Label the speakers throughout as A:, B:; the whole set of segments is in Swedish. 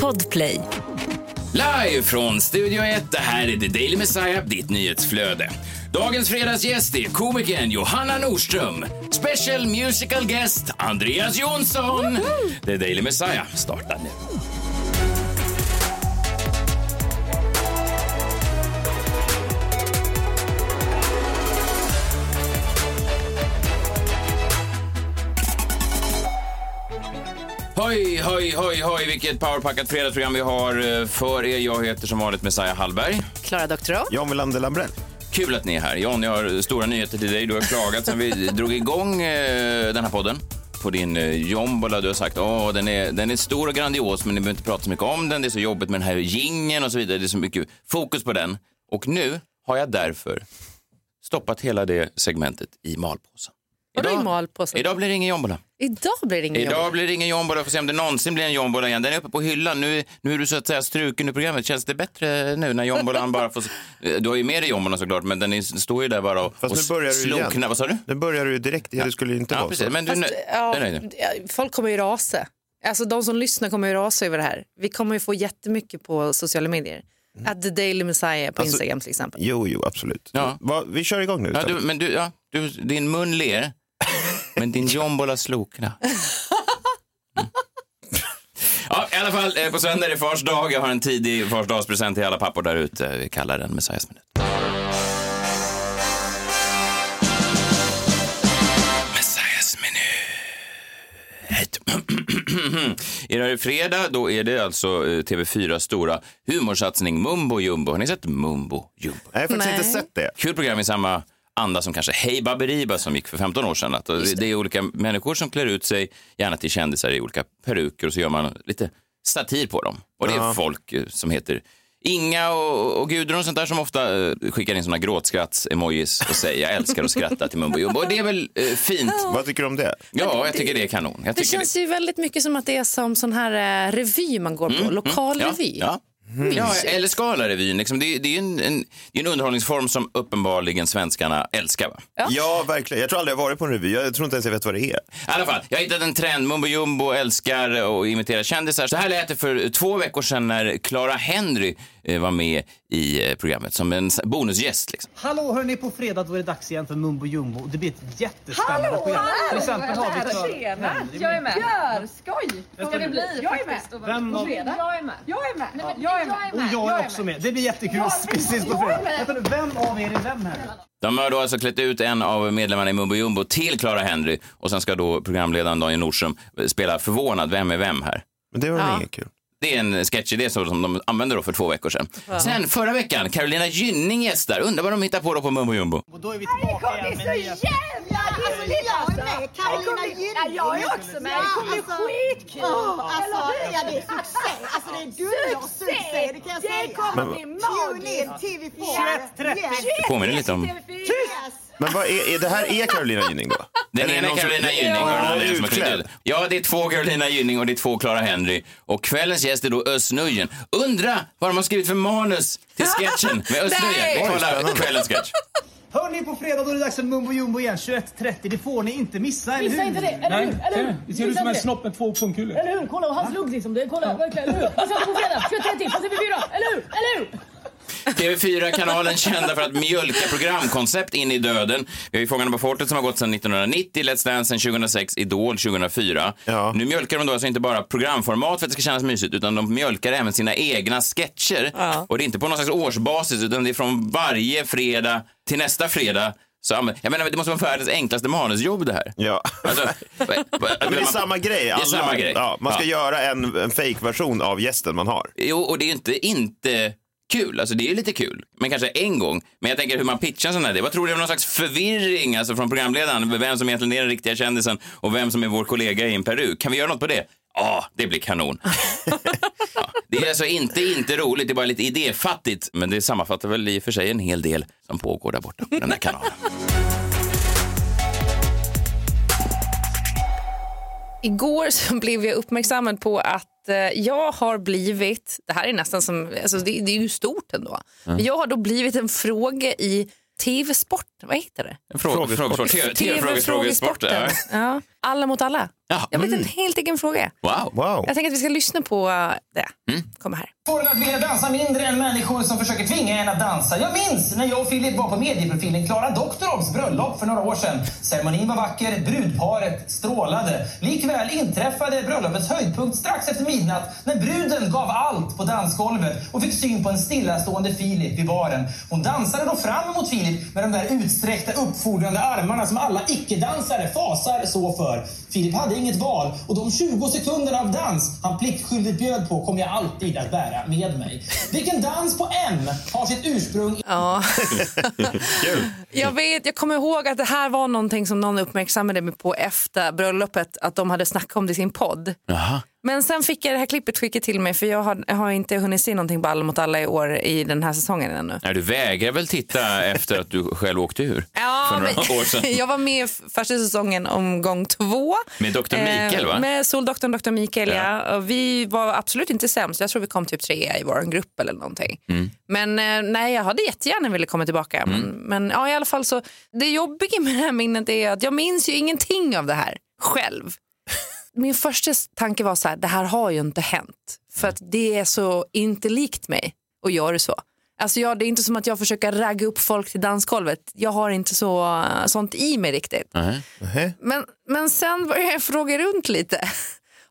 A: Podplay.
B: Live från Studio 1, det här är The Daily Messiah, ditt nyhetsflöde. Dagens fredagsgäst är komikern Johanna Nordström. Special musical guest Andreas Jonsson. The Daily Messiah startar nu. Hoj, hoj, hoj, hoj, vilket powerpackat fredagsprogram vi har eh, för er. Jag heter som vanligt Messiah Hallberg.
C: Klara Doktorow.
D: John Welander Lambrell.
B: Kul att ni är här. John, jag har stora nyheter till dig. Du har klagat sen vi drog igång eh, den här podden på din eh, jombola. Du har sagt att den är, den är stor och grandios, men ni behöver inte prata så mycket om den. Det är så jobbigt med den här gingen och så vidare. Det är så mycket fokus på den. Och nu har jag därför stoppat hela det segmentet i malpåsen.
C: Vadå i malpåsen?
B: Idag blir det ingen jombola.
C: Idag blir det ingen
B: Idag
C: jobb.
B: blir det ingen jombola. Får se om det någonsin blir en jombola igen. Den är uppe på hyllan. Nu, nu är du så att säga struken ur programmet. Känns det bättre nu när jombolan bara får... Eh, Du har ju med dig jombolan såklart, men den är, står ju där bara och,
D: Fast
B: och
D: nu börjar du
B: slog
D: igen.
B: knä- Vad sa du?
D: Nu börjar du direkt. Ja, det skulle ju inte
B: Ja,
D: vara
B: precis.
D: så.
B: Men du är nöjd.
C: Ja,
B: Du är nöjd nu.
C: folk kommer ju rasa. Alltså de som lyssnar kommer ju rasa över det här. Vi kommer ju få jättemycket på sociala medier.
B: Mm.
C: At the Daily Messiah på
D: Alltså-
C: Instagram till exempel.
D: Jo, jo, absolut.
B: Ja.
D: Va, vi kör igång nu.
B: Ja, du, men du, ja, du, din mun ler, men din jombola slokna. Mm. Ja, I alla fall, eh, på söndag är det fars dag. Jag har en tidig farsdagspresent till alla pappor där ute. Vi kallar den Messiahs minut. Messiahs minut. Idag är det fredag, då är det alltså eh, TV4 stora humorsatsning Mumbo Jumbo. Har ni sett Mumbo Jumbo?
D: Nej, jag har faktiskt
C: Nej.
D: inte sett det.
B: kul program i samma anda som kanske Hej Baberiba som gick för 15 år sedan. Att det, det är olika människor som klär ut sig, gärna till kändisar i olika peruker och så gör man lite satir på dem. Och det är folk eh, som heter Inga och, och Gudrun och sånt där som ofta eh, skickar in såna gråtskratts-emojis och säger jag älskar att skratta till Mumbo Jumbo. Och det är väl eh, fint.
D: Vad tycker du om det?
B: Ja, jag tycker det är kanon. Jag
C: Det
B: tycker
C: känns ju väldigt mycket som att det är som sån här eh, revy man går på, lokal
B: Mm, Ja,
C: revy.
B: Ja. Ja, eller Scala-revyn. Liksom, det, det är ju en, en, det är en underhållningsform som uppenbarligen svenskarna älskar. Va?
C: Ja.
D: Ja, verkligen. Jag tror aldrig jag varit på en revy. Jag tror inte ens jag vet vad det är.
B: I alla fall, jag har hittat en trend. Mumbo Jumbo älskar och imitera kändisar. Så här lät det för två veckor sedan när Clara Henry eh, var med i eh, programmet som en s- bonusgäst. Liksom.
E: Hallå hörni, på fredag då är det dags igen för Mumbo Jumbo och det blir ett jättespännande
F: Hallå,
E: program.
F: hallå,
E: Till exempel har vi
F: Tjena!
E: Henry
F: Jag är med. Gör skoj!
E: Jag
F: Får
E: ska
F: det
E: bli.
F: bli jag är med.
E: Vem av-
F: Jag är med. Jag är med. Ja. Jag är med.
E: Och jag är också med. Det blir jättekul
F: Jag är
E: att
F: med.
E: precis på
F: Jag är
E: fredag.
F: med.
E: Vänta nu, Vem av er är vem här?
B: De har då alltså klätt ut en av medlemmarna i Mumbo Jumbo till Clara Henry och sen ska då programledaren Daniel Nordström eh, spela förvånad. Vem är vem här?
D: Men det var
C: Ja.
D: väl inget kul.
B: Det är en sketchidé som som de använde då för två veckor sedan. Sen förra veckan, Carolina Gynning gästar. Undrar vad de hittar på då på Mumbo Jumbo.
E: Och då är vi tillbaka igen med nya...
F: jävla roligt! Jag är med. Carolina Gynning. Jag är också med. Det kommer bli skitkul! Alltså, ja, det är succé. Alltså, det är dubbel succé. Det kan jag säga. Det kommer bli magiskt. Tune in, TV4.
E: 21.30.
B: Det påminner lite om...
D: Men vad är, är det här är Carolina Gynning då?
B: Den
D: Eller är det
B: ena är
D: någon som-
B: Carolina Gynning och den
D: Ja,
B: andra är som har klippt
D: utklädd.
B: ut. Ja, det är två Carolina Gynning och det är två Clara Henry. Och kvällens gäst är då Özz Nujen. Undra vad de har skrivit för manus till sketchen med Özz Nujen. Vi
C: Nej.
B: kollar kvällens sketch.
E: Hörni, på fredag då är det dags för Mumbo Jumbo igen 21.30. Det får ni inte missa, eller hur?
F: Missa inte det, eller hur? Eller hur?
E: Det ser ut
F: Missa
E: som en
F: inte det.
E: snopp med två pungkulor.
F: Eller hur? Kolla, och han slog liksom det. Kolla, verkligen. Eller hur? Och sen på fredag, 21.30 på TV4. Eller hur? Eller hur?
B: TV4-kanalen kända för att mjölka programkoncept in i döden. Vi har ju Fångarna på fortet som har gått sedan 1990, Let's Dance sedan 2006, Idol 2004.
D: Ja.
B: Nu mjölkar de då alltså inte bara programformat för att det ska kännas mysigt, utan de mjölkar även sina egna sketcher.
C: Ja.
B: Och det är inte på någon slags årsbasis, utan det är från varje fredag till nästa fredag. Så, använder- jag menar, det måste vara världens enklaste manusjobb det här.
D: Ja.
B: Alltså,
D: Men det är samma grej.
B: Det är
D: Alla-
B: samma grej.
D: Ja, man ska göra en, en fake-version av gästen man har.
B: Jo, och det är ju inte inte kul. Alltså det är ju lite kul, men kanske en gång. Men jag tänker hur man pitchar en sån här. det. Vad tror du om någon slags förvirring alltså från programledaren? Vem som egentligen är den riktiga kändisen och vem som är vår kollega i en peruk? Kan vi göra något på det? Ja, det blir kanon. ja, det är alltså inte inte roligt, det är bara lite idéfattigt. Men det sammanfattar väl i och för sig en hel del som pågår där borta på den där kanalen.
C: Igår så blev jag uppmärksammad på att eh, jag har blivit, det här är nästan
B: Mm.
C: som, alltså det, det är ju stort ändå, men jag har då blivit en fråga i TV-sporten. Vad heter det?
B: Frågesport. Frågesport. TV, frågesporten.
C: Frågesporten. Ja. Alla mot alla.
B: Ja. mm.
C: Jag vet en helt egen fråga.
B: Wow. Mm.
D: Wow.
C: Jag tänker att vi ska lyssna på eh, det. Kommer här.
E: Får en att vilja dansa mindre än människor som försöker tvinga en att dansa. Jag minns när jag och Filip var på medieprofilen Klara Doktorovs bröllop för några år sedan. Ceremonin var vacker, brudparet strålade. Likväl inträffade bröllopets höjdpunkt strax efter midnatt när bruden gav allt på dansgolvet och fick syn på en stillastående Filip vid baren. Hon dansade då fram mot Filip med de där utsträckta uppfordrande armarna som alla icke-dansare fasar så för. Filip hade inget val och de 20 sekunderna av dans han pliktskyldigt bjöd på kommer jag alltid att bära med mig. Vilken dans på M har sitt ursprung i
C: Ja.
D: Kul.
C: Jag vet, jag kommer ihåg att det här var någonting som någon uppmärksammade mig på efter bröllopet, att de hade snackat om det i sin podd.
B: Jaha.
C: Men sen fick jag det här klippet skickat till mig för jag har, jag har inte hunnit se någonting på Alla mot alla i år i den här säsongen ännu.
B: Nej, du vägrar väl titta efter att du själv åkte ur?
C: Ja,
B: för några år sedan.
C: jag var med f- första säsongen omgång två.
B: Med Dr. Mikael, va?
C: Eh, Med Soldoktorn Dr. Mikael, ja. Och Vi var absolut inte sämst. Jag tror vi kom typ trea i vår grupp eller någonting.
B: Mm.
C: Men eh, nej, jag hade jättegärna velat komma tillbaka. Men, men ja, i alla fall så, det jobbiga med det här minnet är att jag minns ju ingenting av det här själv. Min första tanke var så här, det här har ju inte hänt. För att det är så inte likt mig att göra så. Alltså jag, det är inte som att jag försöker ragga upp folk till dansgolvet. Jag har inte så, eh, sånt i mig riktigt.
B: Nej.
C: Men, men sen började jag fråga runt lite.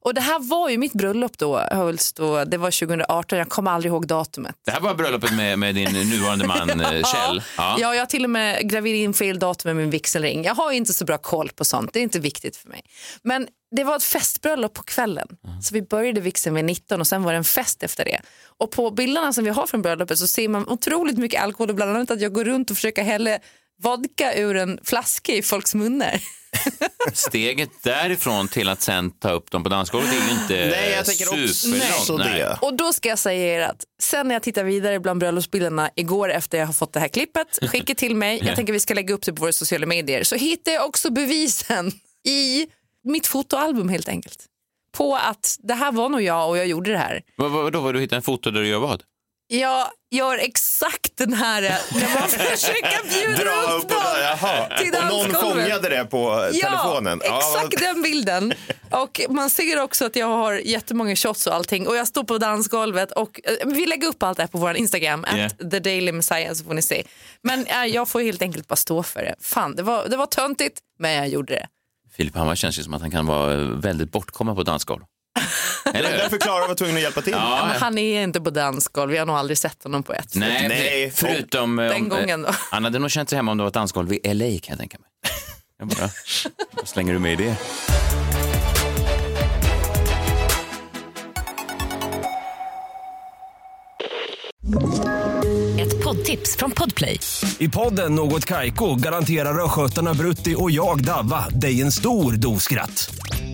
C: Och det här var ju mitt bröllop då, hölls då, det var 2018, jag kommer aldrig ihåg datumet.
B: Det här var bröllopet med, med din nuvarande man eh, Kjell.
C: Ja. jag har till och med gravid in fel datum med min vigselring. Jag har ju inte så bra koll på sånt, det är inte viktigt för mig. Men det var ett festbröllop på kvällen, så vi började vigseln vid 19 och sen var det en fest efter det. Och på bilderna som vi har från bröllopet så ser man otroligt mycket alkohol och bland annat att jag går runt och försöker hälla vodka ur en flaska i folks munnar.
B: Steget därifrån till att sen ta upp dem på dansgolvet är ju inte
D: Nej, jag tänker också
B: superlångt.
D: det.
C: Och då ska jag säga er att sen när jag tittar vidare bland bröllopsbilderna igår efter jag har fått det här klippet, skicka till mig, jag tänker vi ska lägga upp det på våra sociala medier, så hittar jag också bevisen i mitt fotoalbum helt enkelt. På att det här var nog jag och jag gjorde det här.
B: Vad, vad, då, vad, du hittade en foto där du gör vad?
C: Jag gör exakt den här, när man försöker bjuda
D: Dra
C: runt
D: upp och där, jaha.
C: någon till
D: Och någon
C: dansgolvet.
D: fångade det på eh, telefonen.
C: Ja,
D: vad-
C: exakt den bilden. Och man ser också att jag har jättemånga shots och allting och jag står på dansgolvet och eh, vi lägger upp allt det här på vår Instagram,
B: Ja.
C: at the daily messiah så får ni se. Men eh, jag får helt enkelt bara stå för det. Fan, det var, det var töntigt, men jag gjorde det.
B: Filip Hammar känns ju som att han kan vara eh, väldigt bortkommen på dansgolv. Eller hur?
D: Därför Klara var tvungen att hjälpa till.
C: Ja,
B: Ja,
C: men han är inte på dansgolv, jag har nog aldrig sett honom på ett.
B: Nej,
D: Nej.
B: pre- förutom... eh,
C: Den
B: om,
C: gången då.
B: Han hade nog känt sig hemma om det var ett dansgolv i LA kan jag tänka mig. Jag bara, vad slänger du med i det?
A: Ett poddtips från Podplay.
G: I podden Något Kaiko garanterar östgötarna Brutti och jag, Davva, dig en stor dos skratt.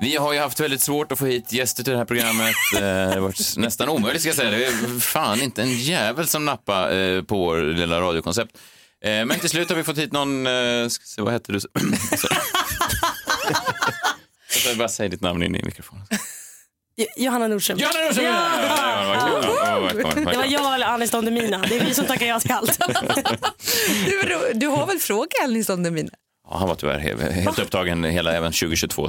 B: Vi har ju haft väldigt svårt att få hit gäster till det här programmet. Eh, Det har varit nästan omöjligt ska jag säga. Det är fan inte en jävel som nappade eh, på vår lilla radiokoncept. Eh, Men till slut har vi fått hit någon, eh, ska se, vad hette du? Så- Jag bara säg ditt namn in i mikrofonen.
H: Johanna Nordström.
B: Johanna Nordström! Ja, ja, vad kul. Ja, vad kul.
H: Det var jag eller Anis Don Demina. Det är vi som tackar ja till allt.
C: Du, du har väl frågat Elnis om det mina?
B: Ja, han var tyvärr he- helt upptagen hela även 2022.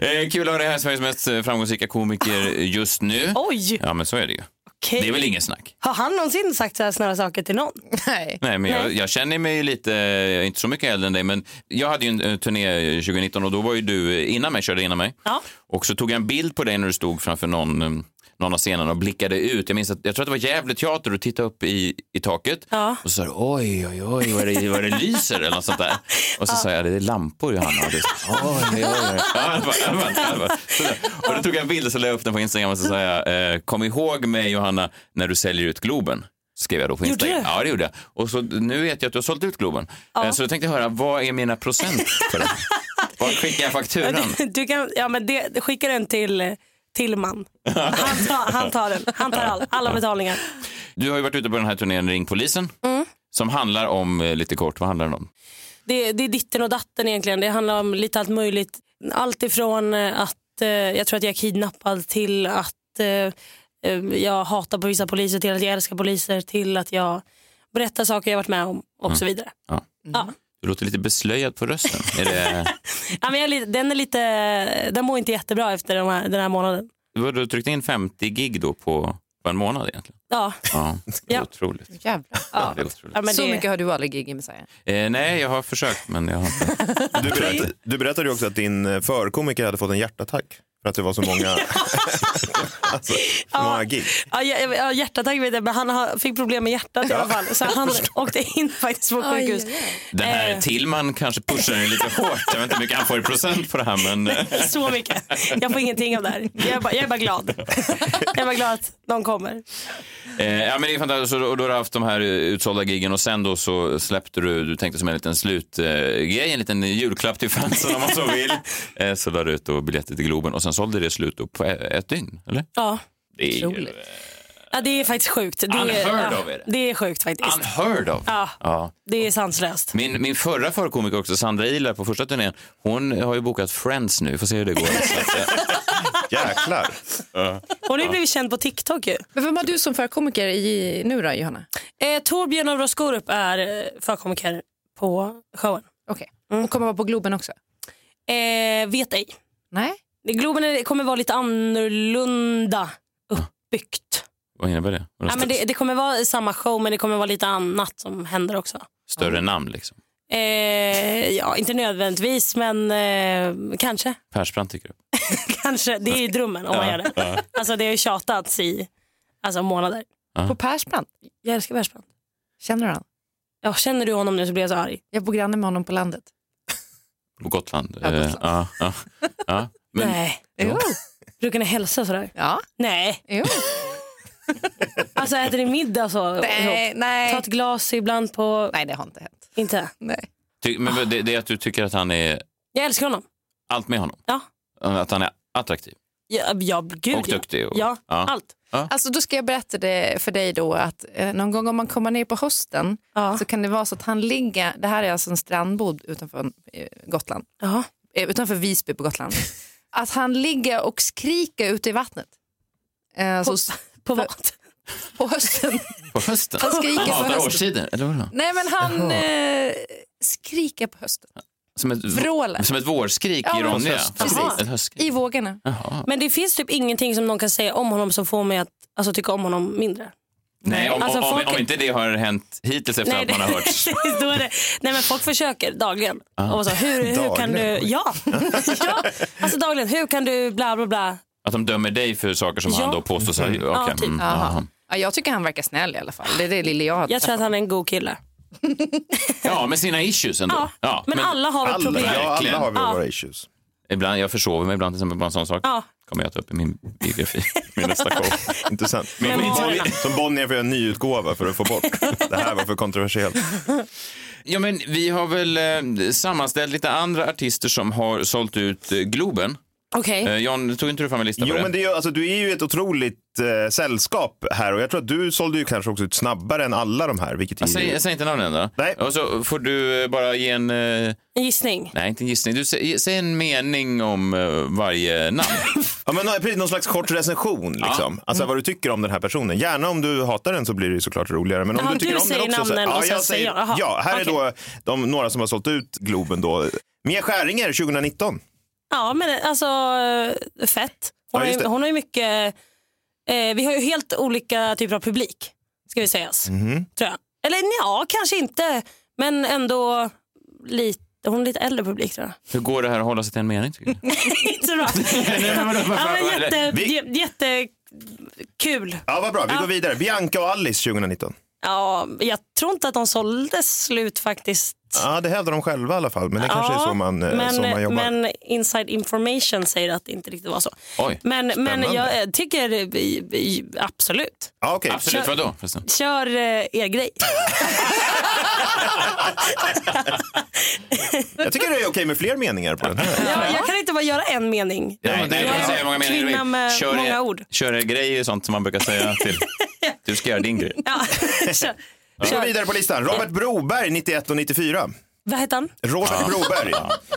B: Eh, Kul att ha det här, Sveriges mest eh, framgångsrika komiker just nu.
H: Oj!
B: Ja, men så är det ju.
H: Okej.
B: Det är väl ingen snack.
H: Har han någonsin sagt så här snälla saker till någon?
C: Nej.
B: Nej, men jag, jag känner mig lite, jag är inte så mycket äldre än dig, men jag hade ju en eh, turné 2019 och då var ju du eh, innan mig, körde innan mig.
H: Ja.
B: Och så tog jag en bild på dig när du stod framför någon, eh, någon av scenerna och blickade ut. Jag minns att, jag tror att det var Gävle teater, du tittade upp i, i taket
H: Ja.
B: och så sa du oj, oj, oj, vad det, vad det lyser eller något sånt där. Och så sa jag, det är lampor Johanna. Och du sa, oj, oj, oj. Ja, det var- det var- det var- sådär. Och då tog jag en bild och så la jag upp den på Instagram och så sa jag, eh, kom ihåg mig Johanna när du säljer ut Globen. skrev jag då på
H: Gjorde
B: Instagram.
H: du?
B: Ja, det gjorde jag. Och så, nu vet jag att du har sålt ut Globen. Eh, Så då tänkte jag höra, vad är mina procent för det? Var skickar jag fakturan?
H: Du, du kan, ja, men det, skicka den till Tillman. Han tar, han tar den. Han tar all, alla betalningar.
B: Du har ju varit ute på den här turnén Ring polisen. Som handlar om, eh, lite kort, vad handlar den om?
H: Det, det är ditten och datten egentligen. Det handlar om lite allt möjligt. Allt ifrån eh, att eh, jag tror att jag är kidnappad till att eh, eh, jag hatar på vissa poliser till att jag älskar poliser till att jag berättar saker jag varit med om och så vidare.
B: Ja.
H: Ja.
B: Du låter lite beslöjad på rösten. Är det,
H: Ja, men jag, är lite- den, är lite, den mår inte jättebra efter de här, den här månaden.
B: du har då tryckt in 50 gig då på, på en månad egentligen.
H: Ja,
B: Ja, det är
H: Ja.
B: otroligt.
C: Jävlar.
B: Det är otroligt.
H: ja, men
C: Så
H: det,
C: mycket har du aldrig gig i Messiah.
B: Eh, nej, jag har försökt men jag har inte.
D: Du, berätt, du berättade ju också att din eh, förkomiker hade fått en hjärtattack för att det var så många, alltså, så många gig.
H: Ja, ja, ja, hjärtattack vet jag, men han har, fick problem med hjärtat i alla fall. Så han åkte in faktiskt på sjukhus.
B: Den här Tillman kanske pushar den lite hårt. Jag vet inte hur mycket han får i procent på det här men eh,
H: Så mycket. Jag får ingenting av det här. Jag är bara, jag är bara glad. Jag är bara glad att någon kommer.
B: Eh, ja, men det är fantastiskt. Och då, och då har du haft de här eh, utsålda giggen och sen då så släppte du, du tänkte som en liten slutgrej, en liten julklapp till fansen om man så vill. Eh, så la du ut då biljetter till Globen och sen sålde det slut då på e- ett dygn, eller?
H: Ja.
B: Det är ju
C: Otroligt.
H: ja, det är faktiskt sjukt. Det
B: Unheard
H: är,
B: of är det.
H: det är sjukt faktiskt.
B: unheard of.
H: Ja.
B: Ja.
H: Det är sanslöst.
B: Min, min förra förkomiker också, Sandra Ilar på första turnén, hon har ju bokat Friends nu, får se hur det går. Så att, eh,
D: Jäklar.
H: Hon har ju blivit känd på TikTok ju.
C: Men vem har du som förkomiker i nu då, Johanna?
H: Eh, Torbjörn av Roscorup är eh, förkomiker på showen.
C: Okej. Och kommer vara på Globen också?
H: Eh, vet ej.
C: Nej.
H: Globen är- kommer vara lite annorlunda uppbyggt.
B: vad innebär det? Var
H: Ja, men det, det kommer vara samma show men det kommer vara lite annat som händer också.
B: Större namn liksom.
H: Eh, ja, inte nödvändigtvis men eh, kanske.
B: Persbrandt tycker upp.
H: kanske. Det är ju drömmen om man gör det. Alltså det har ju tjatats i alltså, månader.
C: På Persbrandt?
H: Jag älskar Persbrandt.
C: Känner du honom?
H: Ja, känner du honom nu så blir jag så arg.
C: Jag bor granne med honom på landet.
B: På Gotland.
C: Ja, Gotland.
B: Eh, ja, ja, ja. Men,
H: Nej.
C: Jo.
H: Brukar ni hälsa sådär?
C: Ja.
H: Nej.
C: Jo.
H: Alltså äter ni middag så? ihop?
C: Nej,
H: Ta
C: nej.
H: ett glas ibland på...
C: Nej, det har inte hänt.
H: Inte?
C: Nej.
B: ty, men vad- det, det är att du tycker att han är
H: Jag älskar honom.
B: allt med honom? Eh,
H: Ja.
B: Att han är attraktiv
H: Ja, ja gud
B: och duktig? Och,
H: Ja, ja, allt.
C: Alltså, då ska jag berätta det för dig då att eh, någon gång om man kommer ner på hösten
H: Ja.
C: så kan det vara så att han ligger, det här är alltså en strandbod utanför eh, Gotland,
H: Ja.
C: eh, utanför Visby på Gotland, att han ligger och skriker ute i vattnet. Eh, så,
H: På vad?
C: på hösten.
B: På hösten?
C: Han skriker på
B: hatar
C: hösten.
B: årstider? Eller vadå?
C: Nej men han eh, skriker på hösten.
B: Som ett,
C: Vrålar.
B: som ett vårskrik
C: Ja,
B: i
C: men-
B: Ronja?
D: Fast
C: höst.
B: Jaha.
C: Precis.
B: Ett höstskrik?
C: I vågorna.
B: Jaha.
H: Men det finns typ ingenting som någon kan säga om honom som får mig att alltså, tycka om honom mindre.
B: Nej, om,
H: Alltså,
B: om,
H: folk-
B: om inte det har hänt hittills efter
H: Nej,
B: att man har hört.
H: precis, då är det, nej men folk försöker dagligen.
B: Ah.
H: Och så, hur, hur kan du,
D: Dagligen?
H: ja, ja, alltså dagligen, hur kan du bla bla bla.
B: Att de dömer dig för saker som
H: Ja.
B: han då påstår sig okay.
H: Ja, typ.
B: mm,
C: Jaha.
B: aha.
C: Ja, jag tycker han verkar snäll i alla fall. Det är det lilla jag har
H: Jag tror att han är en god kille.
B: ja, med sina issues ändå.
H: Ja, men, alla har väl
D: Alla,
H: problem.
D: ja, alla
B: Verkligen.
D: har vi våra issues.
B: Ibland, jag försover mig ibland till exempel på en sån sak.
H: Ja.
B: kommer jag ta upp i min biografi. Min nästa show.
D: Intressant.
H: Memoarerna.
D: Som Bonnier får göra en ny utgåva för att få bort. Det här var för kontroversiellt.
B: Ja, men vi har väl eh, sammanställt lite andra artister som har sålt ut eh, Globen.
H: Okej,
B: Eh, Jan, tog inte du fram en lista
D: Jo,
B: på det?
D: men det är ju, alltså, du är ju ett otroligt eh, sällskap här och jag tror att du sålde ju kanske också ut snabbare än alla de här. Vilket är
B: Alltså, Jag säger, jag säger inte namnen då.
D: Nej.
B: Och så får du eh, bara ge en... eh,
H: en gissning.
B: Nej, inte en gissning. Du, sä, säg en mening om eh, varje namn.
D: ja, men, nå- precis, någon slags kort recension, liksom. alltså,
H: Mm.
D: vad du tycker om den här personen. Gärna om du hatar den så blir det ju såklart roligare. Men om
H: Jaha,
D: du, tycker
H: du
D: om
H: säger
D: den också,
H: namnen
D: så,
H: och sen säger jag. Jaha,
D: ja, här är
H: okej.
D: då de, några som har sålt ut Globen. Då. Mia Skäringer 2019.
H: Ja, men alltså eh, fett.
D: Ja,
H: Hon, har,
D: just
H: ju,
D: det.
H: hon har ju mycket, eh, vi har ju helt olika typer av publik, ska vi sägas.
D: Mhm.
H: Tror jag. Eller ja, kanske inte, men ändå lite, hon är lite äldre publik tror jag.
B: Hur går det här att hålla sig till en mening? Tycker du?
H: inte så bra. ja, men jätte, jä- jättekul.
D: Ja, vad bra. Vi går vidare. Bianca och Alice 2019.
H: Ja, jag tror inte att de sålde slut faktiskt vet.
D: Ja, det hävdar de själva i alla fall. Men det kanske är så man, eh,
H: men,
D: så man jobbar.
H: men inside information säger att det inte riktigt var så.
B: Oj,
H: men, men
D: spännande.
H: jag eh, tycker eh, vi- vi- absolut,
D: Ja, okej.
B: Absolut, vadå? förresten?
H: kör eh, er grej.
D: Jag tycker det är okej med fler meningar på den här.
H: Ja, jag kan inte bara göra en mening.
B: Nej, det är
H: jag
B: bara att säga hur många meningar du
H: kvinna
B: vill.
H: med
B: Kör
H: många
B: er-
H: ord.
B: Kör er grej är sånt som man brukar säga till. Du ska göra din grej.
H: Ja, kör.
D: Vi går
H: Kör.
D: vidare på listan. Robert Broberg, 91 och 94.
H: Vad heter han?
D: Robert Broberg.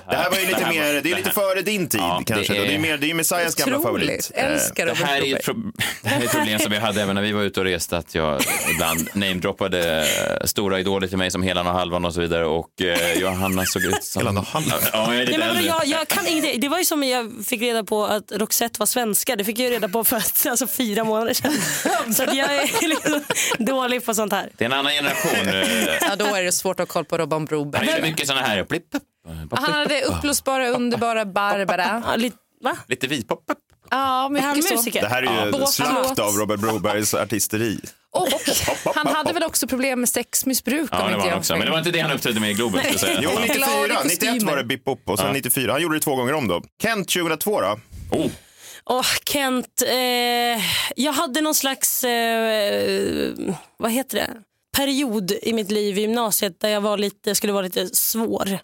D: Det här var ju lite mer, det är lite före din tid
B: Ja, det
D: kanske. då.
B: är-
D: Det är mer, det är Messias gamla favorit. Eh,
C: Otroligt. Älskar
B: Det
C: Robert
B: här, är ju ett
C: Broberg.
B: pro- det här är ett problem som vi hade även när vi var ute och reste att jag ibland namedroppade eh, stora idoler till mig som Helan och Halvan och så vidare och eh, Johanna såg ut som...
D: Helan och Halvan?
B: Ja, jag är
H: Nej,
B: lite
H: men vadå,
B: äldre.
H: jag, jag kan ingenting. Det var ju som jag fick reda på att Roxette var svenska. Det fick jag ju reda på för alltså, fyra månader sedan. Så att jag är liksom dålig på sånt här.
B: Det är en annan generation. eh.
C: Ja, då är det svårt att ha koll på Robban
B: Han
C: Broberg.
B: gör mycket såna här... Blipp, blipp, blipp,
C: Han hade uppblåsbara, underbara Barbara.
H: Ja, lite, va?
B: lite vitpop. blipp.
C: Ja,
H: Är han
C: mycket så.
H: musiker?
D: Det här är ju
C: Ja,
D: slakt
C: förlåt.
D: av Robert Brobergs artisteri.
C: Och han hade väl också problem med sexmissbruk
B: Ja, det var
C: om inte
B: han
C: jag
B: också. Men det var inte det han uppträdde med i Globen. ska jag säga.
D: Jo,
C: Glad i
D: 94. 91 var
C: kostymer.
D: det Bip Bop och sen 94. Han gjorde det två gånger om då. Kent 2002 då?
B: Oh,
H: Åh, Kent. Eh, jag hade någon slags, eh, vad heter det, period i mitt liv i gymnasiet där jag var lite, skulle vara lite svår.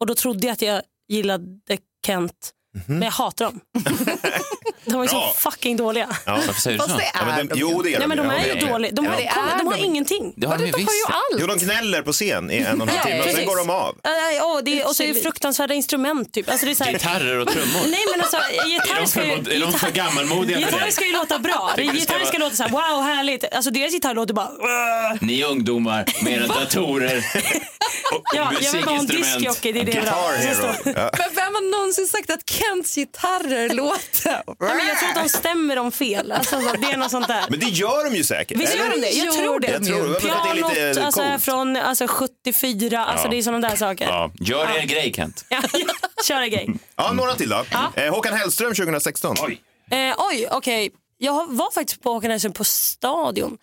H: Och då trodde jag att jag gillade Kent,
D: Mhm.
H: men jag hatar dem. de var ju så
D: Bra.
H: fucking dåliga.
B: varför säger du så?
D: Ja, men de, jo, det är
H: Äh, Nej men de
D: Ja,
H: är
D: det
H: ju
B: det.
H: dåliga. De,
D: Ja,
H: har-
D: det
H: kolla,
C: är
H: de har
C: de.
H: ingenting.
B: Det har de ju
C: De har ju
B: visst.
C: allt.
D: Jo, de gnäller på scen i en och en halv timme och sen
H: precis.
D: går de av.
H: Äh, nej, åh, det är, och så är det fruktansvärda instrument typ. Alltså, det är så här,
B: Gitarrer och trummor.
H: Nej men alltså
B: Är
H: gitarr
B: de för,
H: ska ju...
B: mod- är de för
H: gitarr-
B: gammalmodiga för
H: Gitarr
B: det?
H: ska ju låta bra.
B: Tycker du ska
H: Gitarr ska
B: vara-
H: låta så här, wow härligt. Alltså deras gitarr låter bara...
B: Ni ungdomar med era datorer och
H: Ja, jag vill bara ha en
B: musikinstrument.
H: diskjockey, det Alltså, är det jag vill ha.
D: Guitar Hero. Ja.
C: Men vem har någonsin sagt att Kents gitarrer låter?
H: Nej, men jag tror att de stämmer dem fel. Alltså, så- det är något sånt där.
D: Men det gör de ju säkert.
H: Visst gör de det? Jag tror det.
D: Jag tror- jag tror att det är lite
H: Pianot alltså, är
D: coolt.
H: från alltså, 74, alltså, det är sådana där saker. Ja.
B: Ja, gör er grej Kent.
H: Kör en grej.
D: Ja, några till då. Eh, Håkan Hellström 2016.
H: Eh, oj, okej. Jag var faktiskt på Håkan Hellström på Stadion.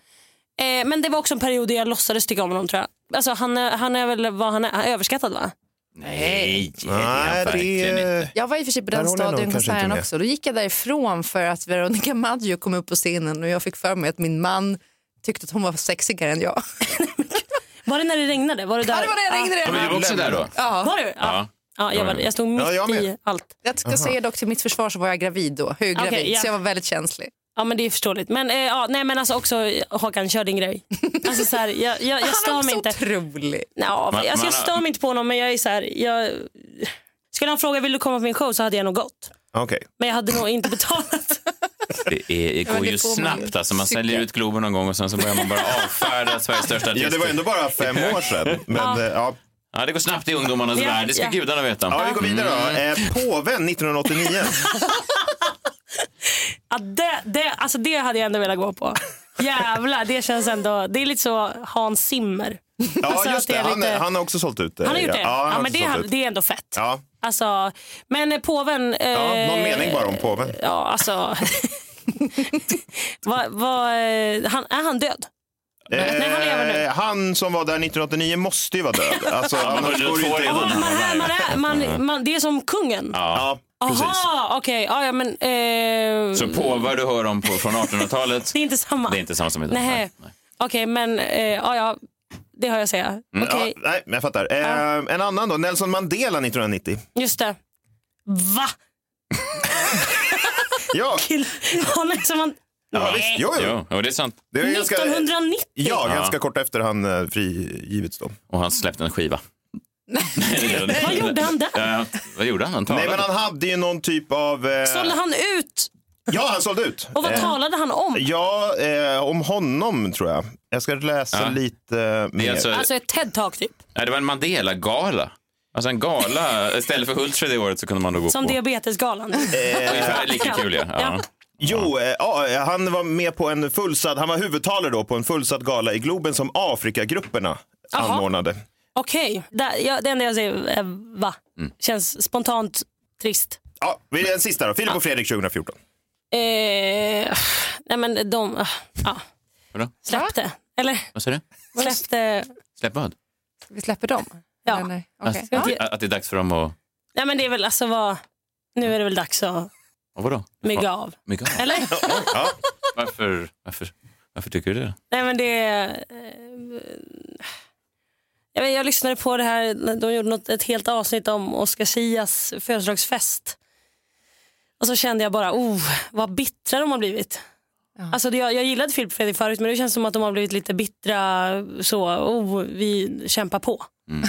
H: Eh, men det var också en period där jag låtsades tycka om honom tror jag. Alltså, han, är, han är väl vad han är, han är överskattad va?
B: Nej, det
D: Nej,
B: är
D: det
B: verkligen inte.
D: är...
C: Jag var i och för sig på
D: Där
C: den
D: håller jag nog kanske inte
C: stadionkonserten
D: med.
C: också. Då gick jag därifrån för att Veronica Maggio kom upp på scenen och jag fick för mig att min man tyckte att hon var sexigare än jag.
H: Var det när det regnade? Var det där?
C: Ja, det var det jag ringde
B: Ja,
C: redan.
B: men du var också där då?
C: Ja.
H: Var du? Ja. ja jag, var, jag stod mitt
D: Ja, jag med.
H: i allt.
C: Jag ska säga dock till mitt försvar så var jag gravid då, höggravid,
H: Okej, ja.
C: så jag var väldigt känslig.
H: Ja men det är förståeligt. Men, eh, ja, nej, men alltså också Håkan, kör din grej. Alltså, så här, jag, jag, jag
C: Han är
H: stör mig inte.
C: också otrolig.
H: Ja,
B: Man-
H: alltså,
B: man-
H: jag stör mig inte på honom men jag är så här, jag... Skulle han fråga vill du komma på min show så hade jag nog gått.
D: Okej.
H: Men jag hade nog inte betalat.
B: Det, är, det
C: men
B: går
C: det
B: ju
C: får man ju
B: snabbt. Alltså, man
C: tycka.
B: säljer ut Globen någon gång och sen så börjar man bara avfärda Sveriges största artist.
D: Ja, det var ändå bara fem år sedan. Men, eh, ja.
B: ja, det går snabbt i ungdomarnas
H: Ja,
B: värld, det ska
H: ja.
B: gudarna veta.
D: ja, vi går vidare då.
H: Mm.
D: Eh, påven 1989.
H: Ja, det, det, alltså, det hade jag ändå velat gå på. Jävlar, det känns ändå... Det är lite så Hans Zimmer. Alltså,
D: Ja,
H: att
D: just
H: det
D: det.
H: är
D: Han,
H: lite-
D: han har också sålt ut. eh,
H: Han har gjort det?
D: Ja, han har
H: Ja, men
D: också
H: det,
D: sålt
H: är-
D: ut.
H: det är ändå fett.
D: Ja.
H: Alltså, men eh, påven... Eh,
D: Ja, någon mening bara om påven.
H: Ja, alltså... vad- vad, eh, han, är han död? nej, han lever nu.
D: Eh, han som var där 1989 måste ju vara död. Alltså,
B: man
D: annars
B: har
D: går det
B: två
D: ju
B: redan.
H: Ja,
D: inte.
H: man, är, man, är, man, man, det är som kungen?
D: Ja, precis.
H: Aha, okej. Ja, ja, men... Eh,
B: Så påvar du hör om på, från 1800-talet,
H: det är inte samma?
B: det är inte samma som idag.
H: Nej. Okej, men... Eh, ja, ja, det har jag att säga. Okej,
D: Ja, nej, men jag fattar. Eh, En annan då, Nelson Mandela 1990.
H: just det. Va?
D: Ja,
H: Till, han är som han,
D: ja visst. Jo, jo.
B: Jo, och det är sant.
D: Det är ju ganska,
H: 1990?
D: ja, ganska kort efter han eh, frigivits då.
B: Och han släppte en skiva. Nej.
H: Vad gjorde han där?
B: Ja, vad gjorde han? Han talade.
D: Nej, men han hade ju någon typ av... Eh,
H: Sålde han ut?
D: Ja, han sålde ut.
H: Och vad
D: Eh,
H: talade han om?
D: Ja, eh, om honom tror jag. Jag ska läsa
B: Ja.
D: lite eh,
B: det,
D: mer.
B: är alltså,
H: Alltså ett TED-talk typ.
B: nej, det var en Mandela-gala. Alltså en gala. Istället för Hultsfred det året så kunde man då gå
H: Som
B: på.
H: diabetesgalan.
B: Eh, Ungefär lika kul ja. ja.
D: Jo, eh, ja, han var med på en fullsatt, han var huvudtalare då på en fullsatt gala i Globen som Afrikagrupperna
H: Aha.
D: anordnade.
H: Okej, där- ja, det enda jag säger är va?
B: Mm.
H: Känns spontant trist.
D: Ja, vi är den sista då. Filip och Fredrik 2014.
H: Eh, nej men de, ah, ja,
B: Vadå?
H: släppte. Eller
B: Vad sa du?
H: släppte,
B: Släpp vad?
C: Vi släpper dem.
H: Ja.
C: Eller nej? Okej.
B: Att,
C: Ja.
B: att, att det är dags för dem att...
H: Nej men det är väl alltså vad, nu är det väl dags att
B: Och vadå?
H: mygga av.
B: Mygga av?
H: Eller?
D: Ja.
B: Varför, varför, varför tycker du det?
H: Nej men det är... eh, Jag, vet, jag lyssnade på det här, de gjorde något, ett helt avsnitt om Oscar Sias födelsedagsfest. Och så kände jag bara, oh, vad bittra de har blivit. Alltså det, jag, jag gillade Filip och Fredrik förut men det känns som att de har blivit lite bittra så, oh, vi kämpar på.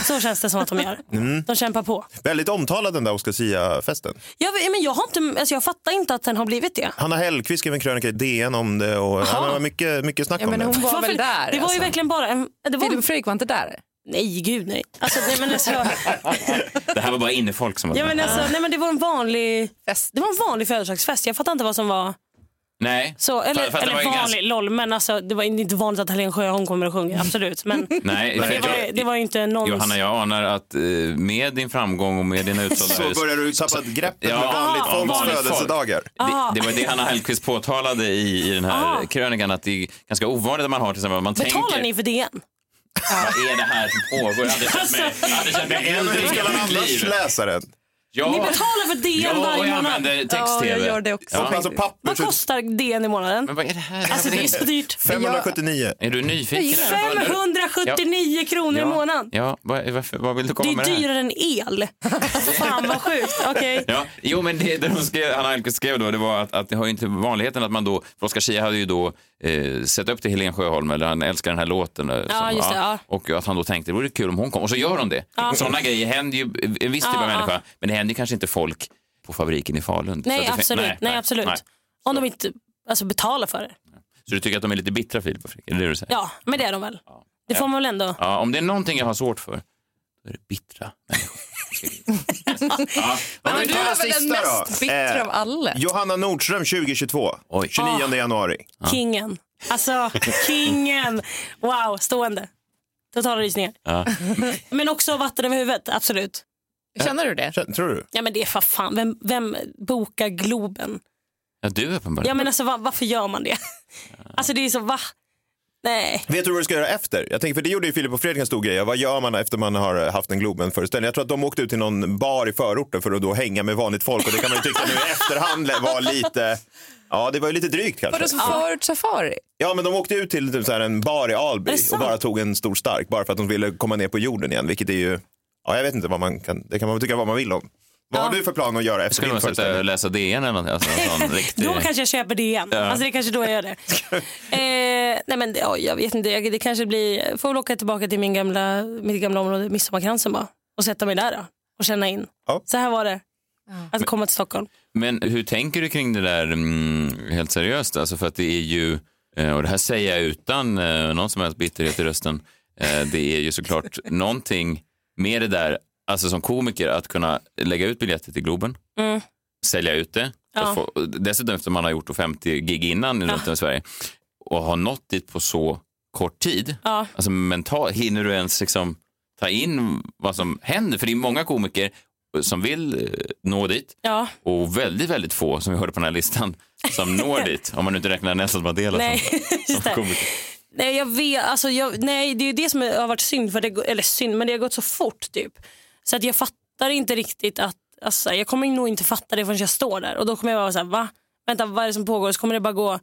H: Så känns det som att de gör. De kämpar på.
D: Väldigt omtalad den där Oscar Sia-festen.
H: Jag, vet- men jag, har inte, alltså jag fattar inte att den har blivit det.
D: Hanna Hellquist skrev en krönika i DN om det och han har mycket, mycket snack
C: Ja,
D: om
C: men
D: det.
C: hon var väl där?
H: det var
C: alltså.
H: ju verkligen bara en... Det var,
C: Filip och Fredrik var inte där?
H: nej, gud nej. Alltså, nej, men alltså,
B: Det här var bara innefolk som var
H: Ja, men alltså, nej, men det var en vanlig
C: Fest.
H: Det var en vanlig födelsedagsfest. Jag fattar inte vad som var
B: Nej.
H: så. Eller,
B: För- för att det
H: eller
B: var
H: vanlig,
B: ju ganska-
H: lol. Men alltså, det var inte vanligt att Helen Sjöholm kommer och sjunger. Absolut. Men
B: Nej,
H: det, var, ju- det var ju inte någon...
B: Johanna, jag anar att eh, med din framgång och med dina utsålda
D: Så
B: hus...
D: börjar du tappa greppet
B: Ja,
D: med vanligt
B: ja,
D: folks
B: vanligt folk.
D: födelsedagar.
B: Det, det var det Hanna Hellquist påtalade i, i den här krönikan, att det är ganska ovanligt att man har till exempel, man
H: Ah. Betalar
B: tänker,
H: ni för DN?
B: vad är det här som pågår? Jag hade känt mig, jag
D: Ja,
B: hade känt mig
H: Alltså,
D: men
B: äldre
D: hur ska
B: i
D: man
B: mitt
D: annars
B: liv.
D: läsa den?
H: Ni
B: Ja,
H: betalar för DN
B: ja, och
H: varje
B: jag
H: månad.
B: använder
C: Ja,
B: text-tv.
C: jag gör det också.
B: Ja.
D: Alltså papper
H: Vad
D: för
H: kostar DN i månaden?
B: Men vad är det här?
H: Alltså det är så dyrt.
D: 579.
B: Är du nyfiken? eller vad undrar du?
H: 579 kronor i månaden.
B: Ja, vad, varför, vad vill du komma
H: Det
B: med
H: är
B: det här?
H: dyrare än el. Alltså, Fan vad sjukt. Okej.
B: Ja, jo, men det, det de skrev, Hanna Alkvist skrev då, det var att, att det har ju inte vanligheten att man då, för Oscar Schia hade ju då eh, sett upp till Helen Sjöholm, eller han älskar den här låten. eh,
H: Ja, just det, ja.
B: Och att han då tänkte, det vore kul om hon kom. Och så gör hon det. Sådana grejer händer ju en viss typ
H: Ja,
B: av
H: ja.
B: människa, men det händer ju kanske inte folk på fabriken i Falun. Så
H: Nej,
B: att det fin-
H: absolut. Nej, absolut.
B: nej.
H: Om de inte alltså, betalar för det.
B: Så du tycker att de är lite bittra, Filip och Fredrik? Är det det du säger?
H: Ja, men det är de väl? Det får man väl ändå?
B: Ja, om det är någonting jag har svårt för, då är det bittra människor. ja.
D: Ja,
C: Men du
D: ta
C: är väl den
D: sista då.
C: mest bittra
D: Eh,
C: av alla? Ah.
D: Johanna Nordström 2022,
B: Oj.
D: 29 januari.
H: Kingen. Alltså, kingen. Wow, stående. Totala rysningar.
B: Ja.
H: Men också vatten över huvudet, absolut.
C: Känner du det?
D: Tror du?
H: Ja men det är för fan, vem, vem bokar Globen?
B: ja, du uppenbarligen.
H: Ja men alltså va, varför gör man det? Alltså det är så, va? Nej.
D: Vet du vad du ska göra efter? Jag tänker, för det gjorde ju Filip och Fredrik en stor grej. Vad gör man efter man har eh, haft en Globen-föreställning? Jag tror att de åkte ut till någon bar i förorten för att då hänga med vanligt folk. Och det kan man ju tycka nu i efterhand var lite... Ja, det var ju lite drygt
C: Vadå,
D: kanske.
C: som förut safari?
D: Ja, men de åkte ut till typ så här en bar i Alby
H: Är det
D: och
H: sant?
D: bara tog en stor stark bara för att de ville komma ner på jorden igen, vilket är ju... Ja, jag vet inte vad man kan... Det kan man väl tycka vad man vill om. Vad har du för plan att göra efter
B: Skulle
D: din
B: man sätta och
D: föreställning?
B: läsa DN eller något? Alltså, en sån riktig...
H: Då kanske jag köper det igen. Alltså det är kanske då jag gör det. eh, nej men det- oj, jag vet inte, Jag- det kanske blir, får väl åka tillbaka till min gamla, mitt gamla område, Midsommarkransen bara. Och sätta mig där då, och känna in.
D: Ja.
H: Så här var det, att komma till Stockholm.
B: Men hur tänker du kring det där mm, helt seriöst? Alltså för att det är ju, eh, och det här säger jag utan eh, någon som helst bitterhet i rösten, eh, det är ju såklart någonting med det där, alltså som komiker, att kunna lägga ut biljetter till Globen, sälja ut det, att få, dessutom efter man har gjort då 50 gig innan runt om i Sverige, och ha nått dit på så kort tid,
H: Ja.
B: alltså mental, hinner du ens liksom ta in vad som händer? För det är många komiker som vill eh, nå dit,
H: Ja.
B: och väldigt, väldigt få som vi hörde på den här listan som når dit. Om man nu inte räknar Nelson Mandela
H: Nej,
B: som,
H: just
B: som
H: det.
B: komiker.
H: Nej, jag vet, alltså jag, nej, det är ju det som har varit synd, för det, går- eller synd, men det har gått så fort typ. Så att jag fattar inte riktigt att, alltså, jag kommer nog inte fatta det förrän jag står där och då kommer jag vara så här, va? Vänta, vad är det som pågår? Och Så kommer det bara gå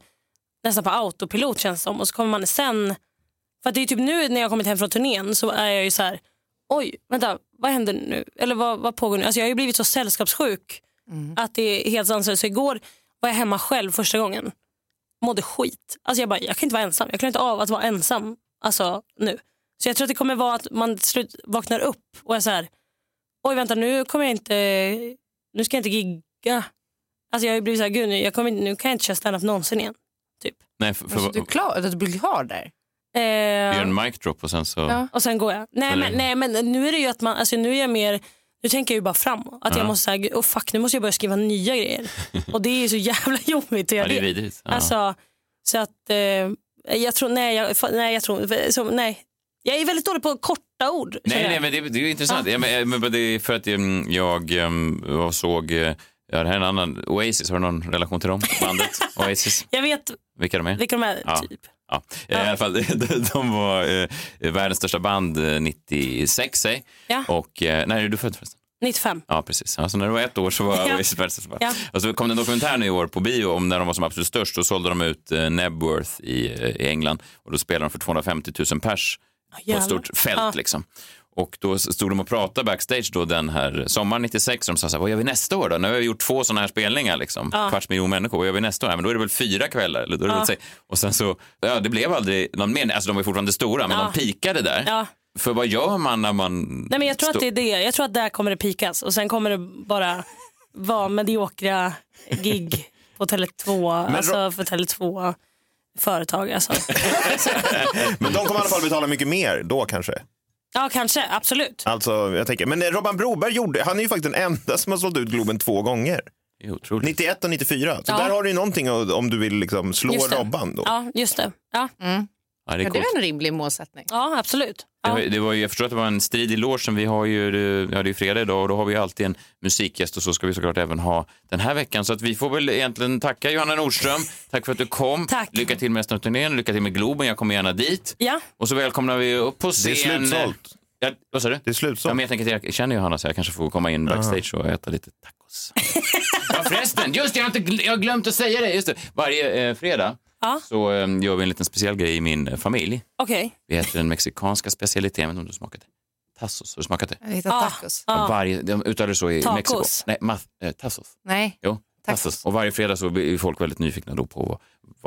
H: nästan på autopilot känns det som och så kommer man sen, för att det är typ nu när jag har kommit hem från turnén så är jag ju så här, oj, vänta, vad händer nu? Eller vad, vad pågår nu? Alltså jag har ju blivit så sällskapssjuk att det är helt sanslöst. Så igår var jag hemma själv första gången mådde skit. Alltså jag bara, jag kan inte vara ensam. Jag klarar inte av att vara ensam alltså, nu. Så jag tror att det kommer vara att man till slut vaknar upp och är så här, oj vänta nu kommer jag inte, nu ska jag inte gigga. Alltså jag har ju blivit så här, gud nu, jag kommer, inte- nu kan jag inte köra standup någonsin igen. Typ.
B: Nej, för, för,
C: Alltså, du, är klar, att du blir klar där?
B: vi gör
H: Eh,
B: en mic drop och sen så...
C: Ja.
H: och sen går jag. Nej men, nej men nu är det ju att man, alltså nu är jag mer, nu tänker jag ju bara framåt. Att jag måste säga, oh fuck nu måste jag börja skriva nya grejer. och det är ju så jävla jobbigt att
B: Ja,
H: göra
B: det är
H: det.
B: vidrigt. Ja.
H: Alltså, så att eh, jag tror, nej, jag, fa- nej, jag tror, så, nej. Jag är väldigt dålig på korta ord. känner
B: nej,
H: jag.
B: nej, men det, det är ju intressant. Ja, men, eh, men det är för att mm, jag um, var- såg, eh, ja, det här är en annan, Oasis, har du någon relation till dem? Bandet Oasis,
H: Jag vet
B: vilka de är?
H: vilka de är,
B: Ja.
H: typ.
B: Ja, eh, I alla fall, de, de var eh, världens största band eh, 96, säg.
H: Ja.
B: Och, eh, när är du född förresten?
H: 95.
B: Ja, precis. Ja, så när du var ett år så var
H: Ja.
B: Oasis världens största band.
H: Ja.
B: Och så kom det en dokumentär nu i år på bio om när de var som absolut störst. Då sålde de ut eh, Nebworth i, eh, i England och då spelade de för 250 000 pers på
H: jävlar.
B: ett stort fält.
H: Ja.
B: Liksom. Och då stod de och pratade backstage då den här sommaren 96 och de sa så här, vad gör vi nästa år då? Nu har vi gjort två sådana här spelningar, liksom. kvarts miljon människor, vad gör vi nästa år? Ja, Men då är det väl fyra kvällar? Eller då är det väl sex. Och sen så, ja det blev aldrig någon mer, alltså de var ju fortfarande stora, men de pikade där.
H: Ja.
B: För vad gör man när man...
H: Nej, men jag tror att det är det. Jag tror att där kommer det pikas och sen kommer det bara vara mediokra gig på Tele2, alltså för Tele2 företag. Alltså.
D: Men de kommer i alla fall betala mycket mer då kanske.
H: Ja, kanske. Absolut.
D: Alltså, jag tänker. Men eh, Robban Broberg gjorde, han är ju faktiskt den enda som har sålt ut Globen två gånger.
B: Det är otroligt.
D: 91 och 94. Så
H: Ja.
D: där har du ju någonting om om du vill liksom slå
H: Just det.
D: Robban då.
H: Ja, just det. Ja,
B: Mm. Ja, det är
C: Men det
B: coolt.
C: är en rimlig målsättning.
H: ja absolut.
B: Det
H: Ja.
B: var, det var ju, jag förstår att det var en strid i logen. Vi har ju, eh, ja, det är ju fredag idag och då har vi ju alltid en musikgäst och så ska vi såklart även ha den här veckan. Så att vi får väl egentligen tacka Johanna Nordström. Tack för att du kom.
H: Tack.
B: Lycka till med resten av turnén, lycka till med Globen. Jag kommer gärna dit.
H: Ja.
B: Och så välkomnar vi upp på scen.
D: slutsålt.
B: Ja, vad sa du?
D: Det är
B: Ja,
D: slutsålt.
B: men jag tänker att jag känner Johanna så jag kanske får komma in backstage och äta lite tacos. ja, förresten, just det, jag har, inte, gl- jag har glömt att säga det. Just det. Varje eh, fredag
H: Ja.
B: så eh, gör vi en liten speciell grej i min eh, familj.
H: Okej.
B: Vi äter den mexikanska specialiteten. Jag vet inte om du har smakat det? Tassos, har du smakat det?
C: Jag hittar
H: Ja.
C: tacos.
H: Ja.
B: Varje, de uttalar det så i
H: Tacos.
B: Mexiko. Nej, mas, eh, tassos.
C: Nej.
B: Jo,
C: Tacos.
B: tassos. Och varje fredag så blir folk väldigt nyfikna då på vad,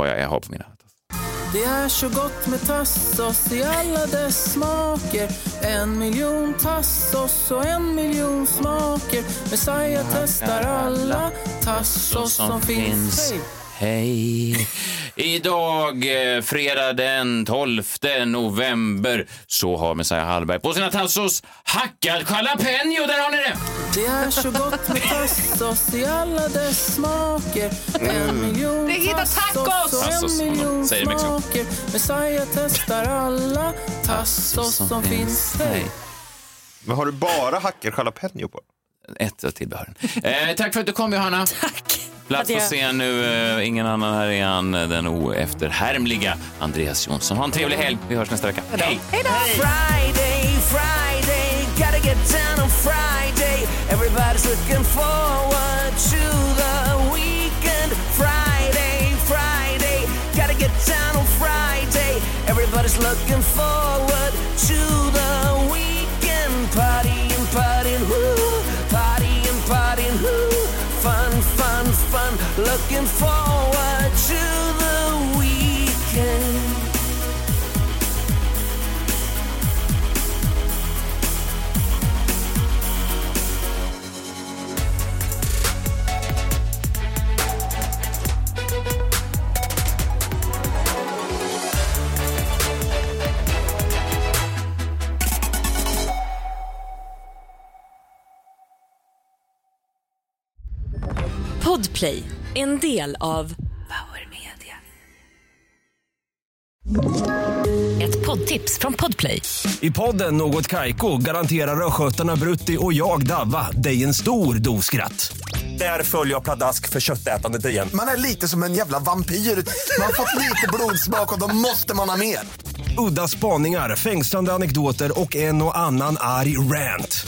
B: vad jag har på mina tassos.
I: Det är så gott med tassos i alla dess smaker En miljon tassos och en miljon smaker Messiah testar alla tassos som finns Hej!
B: Hej! Idag, eh, fredag den 12 november, så har Messiah Hallberg på sina tassos hackad jalapeno. Där har ni det!
I: Det är så gott med tassos i alla dess smaker En miljon
C: Det hittar tacos!
I: tassos och
B: Tassos, som
I: en
B: de
I: miljon
B: säger i Mexiko.
I: smaker Messiah testar alla tassos som finns Hej!
D: Men har du bara hackad jalapeno på?
B: Ett av tillbehören. Eh, tack för att du kom, Johanna.
H: Tack.
B: Plats på
H: Adjö.
B: scen nu. eh, Ingen annan här är han, eh, den oefterhärmliga Andreas Jonsson. Ha en trevlig helg. Vi hörs nästa vecka. Hej!
I: Friday, Friday, gotta get down on Friday. Everybody's looking forward to the weekend. Friday, Friday, gotta get down on Friday. Everybody's looking forward to the weekend. Partying, partying, woo. Partying, partying, woo. Fun, fun, fun. Looking forward to the weekend.
A: Podplay, en del av Power Media. Ett poddtips från Podplay.
G: I podden Något Kaiko garanterar östgötarna Brutti och jag, Davva, dig en stor dos skratt. Där följer jag pladask för köttätandet igen.
J: Man är lite som en jävla vampyr. Man har fått lite blodsmak och då måste man ha mer.
G: Udda spaningar, fängslande anekdoter och en och annan arg rant.